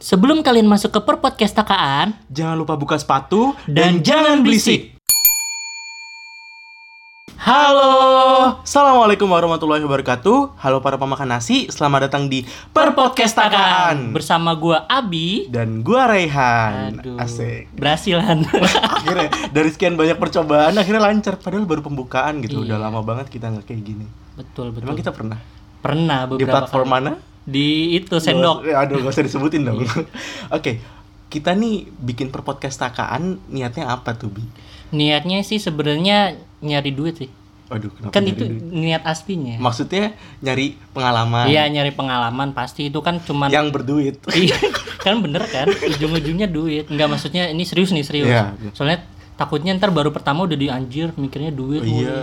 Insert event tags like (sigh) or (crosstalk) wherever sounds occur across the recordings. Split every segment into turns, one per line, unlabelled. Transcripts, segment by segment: Sebelum kalian masuk ke perpodcastakaan
Jangan lupa buka sepatu
dan jangan berisik. Halo,
Assalamualaikum warahmatullahi wabarakatuh. Halo para pemakan nasi, selamat datang di Perpodcastakaan.
bersama gua Abi.
Dan gua Raihan.
Aduh,
Asik.
Berhasil
(laughs)
Han.
Akhirnya dari sekian banyak percobaan akhirnya lancar. Padahal baru pembukaan gitu. Udah
Iya.
lama banget kita nggak kayak gini.
betul betul.
Emang kita pernah
pernah
di
beberapa
platform
kali.
mana?
di itu sendok. Iya.
Gak- aduh, gak usah disebutin dong. (laughs) Oke. Kita nih bikin perpodcastakaan niatnya apa tuh, Bi?
Niatnya sih sebenarnya nyari duit sih.
Aduh, kenapa
Kan
nyari
itu
duit? Nah.
niat aslinya.
maksudnya nyari pengalaman
Iya, nyari pengalaman pasti itu kan cuman
yang berduit.
(laughs) Iya, kan bener kan ujung-ujungnya duit nggak maksudnya ini serius nih serius
Iya.
soalnya takutnya ntar baru pertama udah dianjir mikirnya duit
Oh,
mulu.
iya.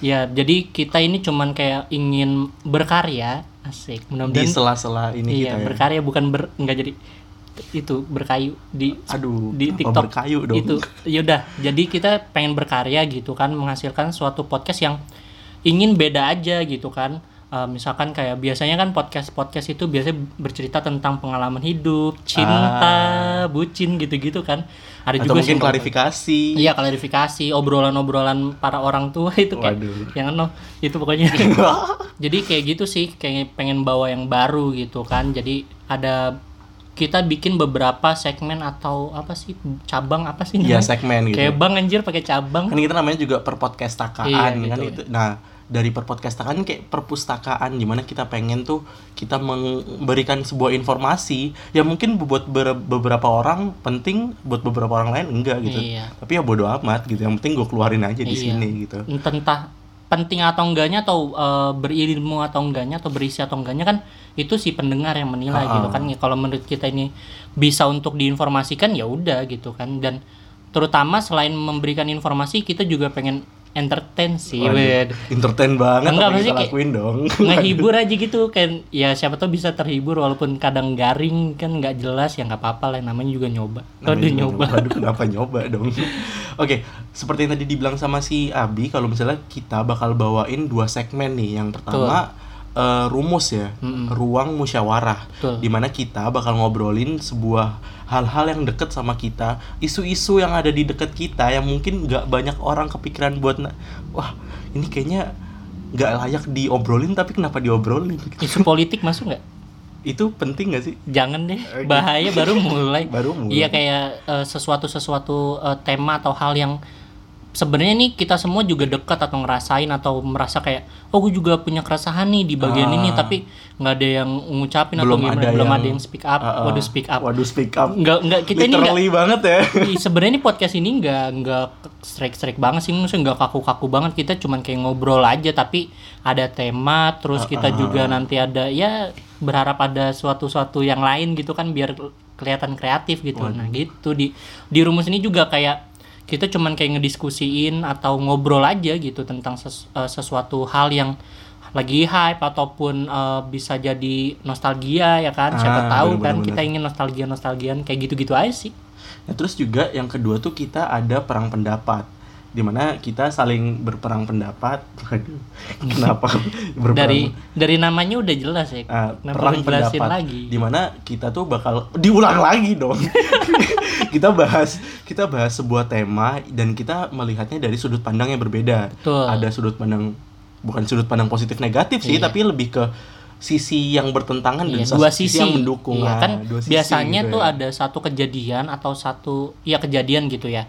ya jadi kita ini cuman kayak ingin berkarya asik
Di
mudah-mudahan
sela-sela ini
iya
kita ya.
berkarya bukan ber nggak jadi itu berkayu di
Aduh,
di
kenapa
TikTok
berkayu dong.
itu yaudah jadi kita pengen berkarya gitu kan menghasilkan suatu podcast yang ingin beda aja gitu kan Eh, misalkan kayak biasanya kan podcast podcast itu biasanya bercerita tentang pengalaman hidup cinta bucin gitu-gitu kan ada
Ah. Atau
juga
mungkin
sih-
klarifikasi.
iya klarifikasi obrolan-obrolan para orang tua (laughs) itu kayak
Waduh.
yang eno itu
(laughs)
pokoknya jadi kayak gitu sih kayak pengen bawa yang baru gitu kan jadi ada kita bikin beberapa segmen atau apa sih cabang apa sih
Iya,
namanya?
segmen gitu.
kayak bang anjir pakai cabang
Kan kita namanya juga perpodcastakaan
Iya,
kan
gitu.
itu. Nah, dari perpodcastakaan kayak perpustakaan dimana kita pengen tuh kita memberikan sebuah informasi yang mungkin buat ber- beberapa orang penting buat beberapa orang lain enggak gitu
Iya.
tapi ya bodo amat gitu yang penting gue keluarin aja di
Iya.
sini gitu
entah penting atau enggaknya atau eh, berilmu atau enggaknya atau berisi atau enggaknya kan itu si pendengar yang menilai
Ha-ha.
gitu kan Ya, kalau menurut kita ini bisa untuk diinformasikan ya udah gitu kan dan terutama selain memberikan informasi kita juga pengen entertain sih
Waduh,
Wed.
entertain banget
Enggak,
apa yang kita
maksudnya kayak-
lakuin dong
ngehibur aja gitu kan ya siapa tahu bisa terhibur walaupun kadang garing kan nggak jelas ya nggak apa-apa lah namanya juga nyoba
Namanya
Aduh
juga
nyoba
Aduh kenapa nyoba dong? (laughs) Oke, seperti yang tadi dibilang sama si Abi, kalau misalnya kita bakal bawain dua segmen nih. Yang pertama eh, rumus ya,
Mm-mm.
ruang musyawarah.
Betul.
Dimana kita bakal ngobrolin sebuah hal-hal yang deket sama kita, isu-isu yang ada di deket kita yang mungkin nggak banyak orang kepikiran buat, na- wah ini kayaknya nggak layak diobrolin tapi kenapa diobrolin?
isu politik masuk nggak
Itu penting nggak sih?
jangan deh
Oke.
bahaya baru mulai
Baru mulai.
iya kayak eh, sesuatu sesuatu eh, tema atau hal yang sebenarnya nih kita semua juga dekat atau ngerasain atau merasa kayak oh gue juga punya keresahan nih di bagian
Ah.
ini tapi nggak ada yang ngucapin atau
Belum
gimana
ada
belum
yang-
ada yang speak up
Ah, ah.
waduh speak up
Waduh speak up.
nggak nggak kita ini nggak
Literally banget ya.
Ih, sebenarnya ini podcast ini nggak nggak strike-strike banget sih, maksudnya nggak kaku-kaku banget. Kita cuman kayak ngobrol aja, tapi ada tema, terus kita juga nanti ada ya berharap ada suatu-suatu yang lain gitu kan, biar kelihatan kreatif gitu. Nah gitu di di rumus ini juga kayak kita cuman kayak ngediskusiin atau ngobrol aja gitu tentang ses- eh, sesuatu hal yang lagi hype ataupun eh, bisa jadi nostalgia ya kan siapa
Ah,
tahu kan
bener-bener.
kita ingin nostalgia nostalgian kayak gitu-gitu aja sih
Nah, terus juga yang kedua tuh kita ada perang pendapat dimana kita saling berperang pendapat. (laughs) Waduh, kenapa berperang?
dari dari namanya udah jelas ya.
Ah,
Kenapa
perang
lu jelasin
pendapat
lagi?
dimana kita tuh bakal diulang lagi
(laughs)
dong. kita bahas kita bahas sebuah tema dan kita melihatnya dari sudut pandang yang berbeda.
Betul.
Ada sudut pandang bukan sudut pandang positif negatif sih,
Iya.
tapi lebih ke sisi yang bertentangan
Iya,
dan satu
dua sisi
yang mendukung.
Iya,
Ah,
kan
dua sisi
biasanya
gitu
tuh
ya.
ada satu kejadian atau satu ya kejadian gitu ya.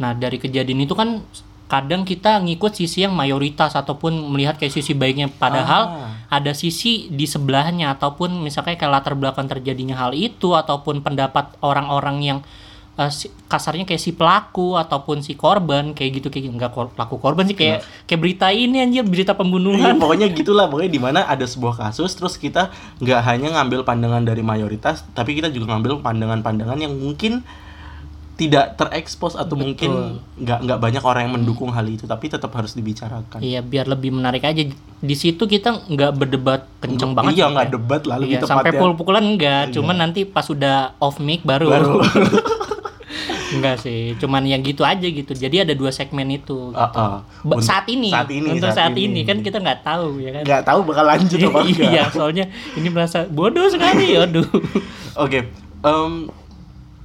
Nah, dari kejadian itu kan kadang kita ngikut sisi yang mayoritas ataupun melihat kayak sisi baiknya padahal
Ah.
ada sisi di sebelahnya ataupun misalnya kayak latar belakang terjadinya hal itu ataupun pendapat orang-orang yang eh, si- kasarnya kayak si pelaku ataupun si korban kayak gitu kayak enggak kor- pelaku korban sih kayak kayak berita ini anjir berita
Iya,
pembunuhan
pokoknya gitulah pokoknya di mana ada sebuah kasus terus kita nggak hanya ngambil pandangan dari mayoritas tapi kita juga ngambil pandangan-pandangan yang mungkin tidak terekspos atau
Betul.
mungkin nggak nggak banyak orang yang mendukung hal itu tapi tetap harus dibicarakan.
iya biar lebih menarik aja di situ kita nggak berdebat kenceng banget
iya
sih,
nggak
kayak.
debat lah lebih
Iya, sampai
tepatnya. Iya.
pukul-pukulan enggak, cuman nanti pas udah off mic baru. (laughs)
Baru. (laughs)
enggak sih, cuman yang gitu aja gitu. Jadi ada dua segmen itu.
Ah, ah.
Ba-
Untuk-
saat ini,
saat ini
untuk saat, ini. kan kita nggak tahu ya kan. (laughs)
nggak tahu bakal lanjut apa enggak. (laughs)
iya, soalnya ini merasa bodoh sekali, aduh.
Oke, em,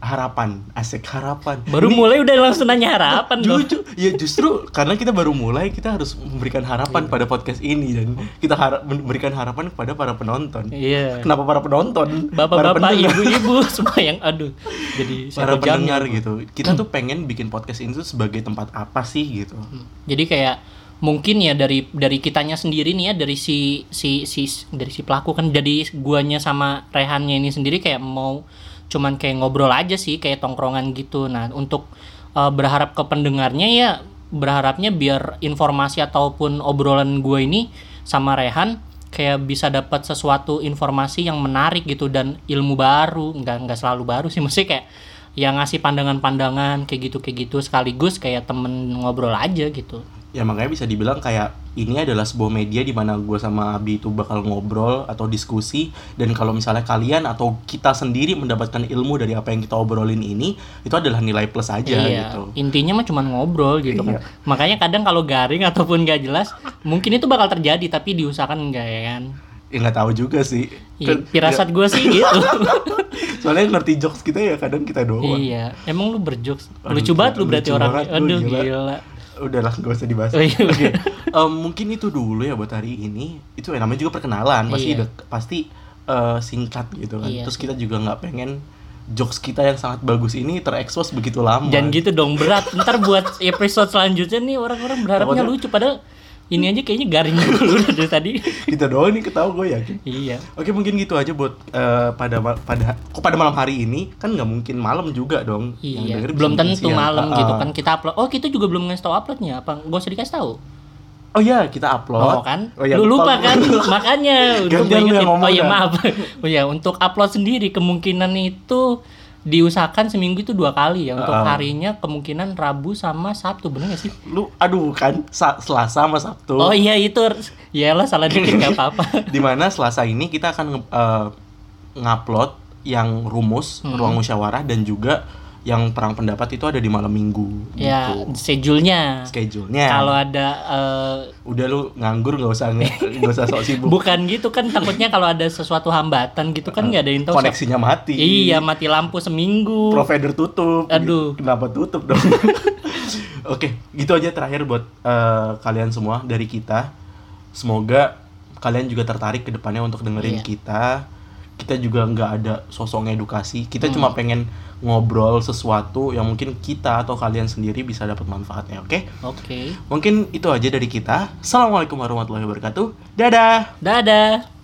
harapan, asik harapan.
Baru
Ini-
mulai udah langsung nanya harapan loh.
Jujur, ya justru karena kita baru mulai kita harus memberikan
Iya.
harapan pada podcast ini dan kita harap memberikan harapan kepada para penonton.
Oh. Iya.
Kenapa para penonton? para
Bapak-bapak,
pendengar?
ibu-ibu (laughs) semua yang aduh. Jadi siapa
para pendengar
jamnya?
gitu. Kita tuh pengen bikin podcast ini tuh sebagai tempat apa sih gitu.
Hmm. Jadi kayak mungkin ya dari dari kitanya sendiri nih ya dari si si si dari si pelaku kan jadi guanya sama Rehannya ini sendiri kayak mau cuman kayak ngobrol aja sih kayak tongkrongan gitu. Nah, untuk eh, berharap ke pendengarnya ya berharapnya biar informasi ataupun obrolan gua ini sama Rehan kayak bisa dapat sesuatu informasi yang menarik gitu dan ilmu baru nggak nggak selalu baru sih mesti kayak yang Ya, ngasih pandangan-pandangan kayak gitu kayak gitu sekaligus kayak temen ngobrol aja gitu
Ya makanya bisa dibilang kayak ini adalah sebuah media di mana gue sama Abi itu bakal ngobrol atau diskusi dan kalau misalnya kalian atau kita sendiri mendapatkan ilmu dari apa yang kita obrolin ini itu adalah nilai plus aja
iya
gitu. Iya.
intinya mah cuma ngobrol gitu kan makanya kadang kalau garing ataupun gak jelas mungkin itu bakal terjadi tapi diusahakan enggak ya kan
Ya nggak tahu juga sih.
Iya,
Kan-
pirasat gue sih
(laughs)
gitu
Soalnya yang ngerti jokes kita ya kadang kita doang.
iya emang lu berjokes
Aduh,
lucu banget lu
lucu
berarti orangnya
banget lu,
aduh
gila.
gila
Udahlah nggak usah dibahas.
Oh, iya.
Oke, em, mungkin itu dulu ya buat hari ini. Itu yang namanya juga perkenalan pasti
Iya.
dek- pasti eh, singkat gitu kan.
Iya.
Terus kita juga nggak pengen jokes kita yang sangat bagus ini terekspos begitu lama.
Jangan gitu dong berat. Ntar buat episode selanjutnya nih orang-orang berharapnya
Takutnya-
lucu padahal ini aja kayaknya garing (laughs) dulu dari tadi.
kita doang nih ketawa gue yakin.
Iya.
Oke mungkin gitu aja buat eh, pada ma- pada kok pada malam hari ini kan nggak mungkin malam juga dong. Yang
Iya,
denger bisa
belum tentu
siang.
malam
Ah,
gitu
ah.
kan kita upload. Oh, kita juga belum ngasih tahu uploadnya apa? Gak usah dikasih tahu.
Oh iya kita upload.
Oh, kan?
Oh iya,
Lu lupa
lupa. (laughs)
kan? Makanya untuk
Gantian lu yang ngomong kan?
Oh iya,
dah.
maaf. (laughs) Oh iya, untuk upload sendiri kemungkinan itu diusahakan seminggu itu dua kali ya. Untuk
Ah.
harinya kemungkinan Rabu sama Sabtu, bener gak sih?
Lu aduh kan Sa- Selasa sama Sabtu.
Oh iya itu. Iyalah salah dikit gak apa-apa.
(laughs)
(laughs)
di mana Selasa ini kita akan nge- eh, ngupload yang rumus
Hmm.
ruang musyawarah dan juga yang perang pendapat itu ada di malam minggu
Ya,
gitu Ya.
schedule-nya.
schedule-nya
Kalau ada eh,
udah lu nganggur nggak usah
(laughs)
nge- nggak usah sok sibuk
bukan gitu kan takutnya kalau ada sesuatu hambatan gitu
Ah,
kan nggak ada yang tahu. siapa-
koneksinya mati
Iya mati lampu seminggu.
provider tutup
Aduh.
kenapa tutup dong (laughs) oke gitu aja terakhir buat eh, kalian semua dari kita semoga kalian juga tertarik ke depannya untuk dengerin
Iya.
kita kita juga nggak ada sosok edukasi kita
Hmm.
cuma pengen ngobrol sesuatu yang mungkin kita atau kalian sendiri bisa dapat manfaatnya oke
Oke.
mungkin itu aja dari kita assalamualaikum warahmatullahi wabarakatuh dadah
Dadah.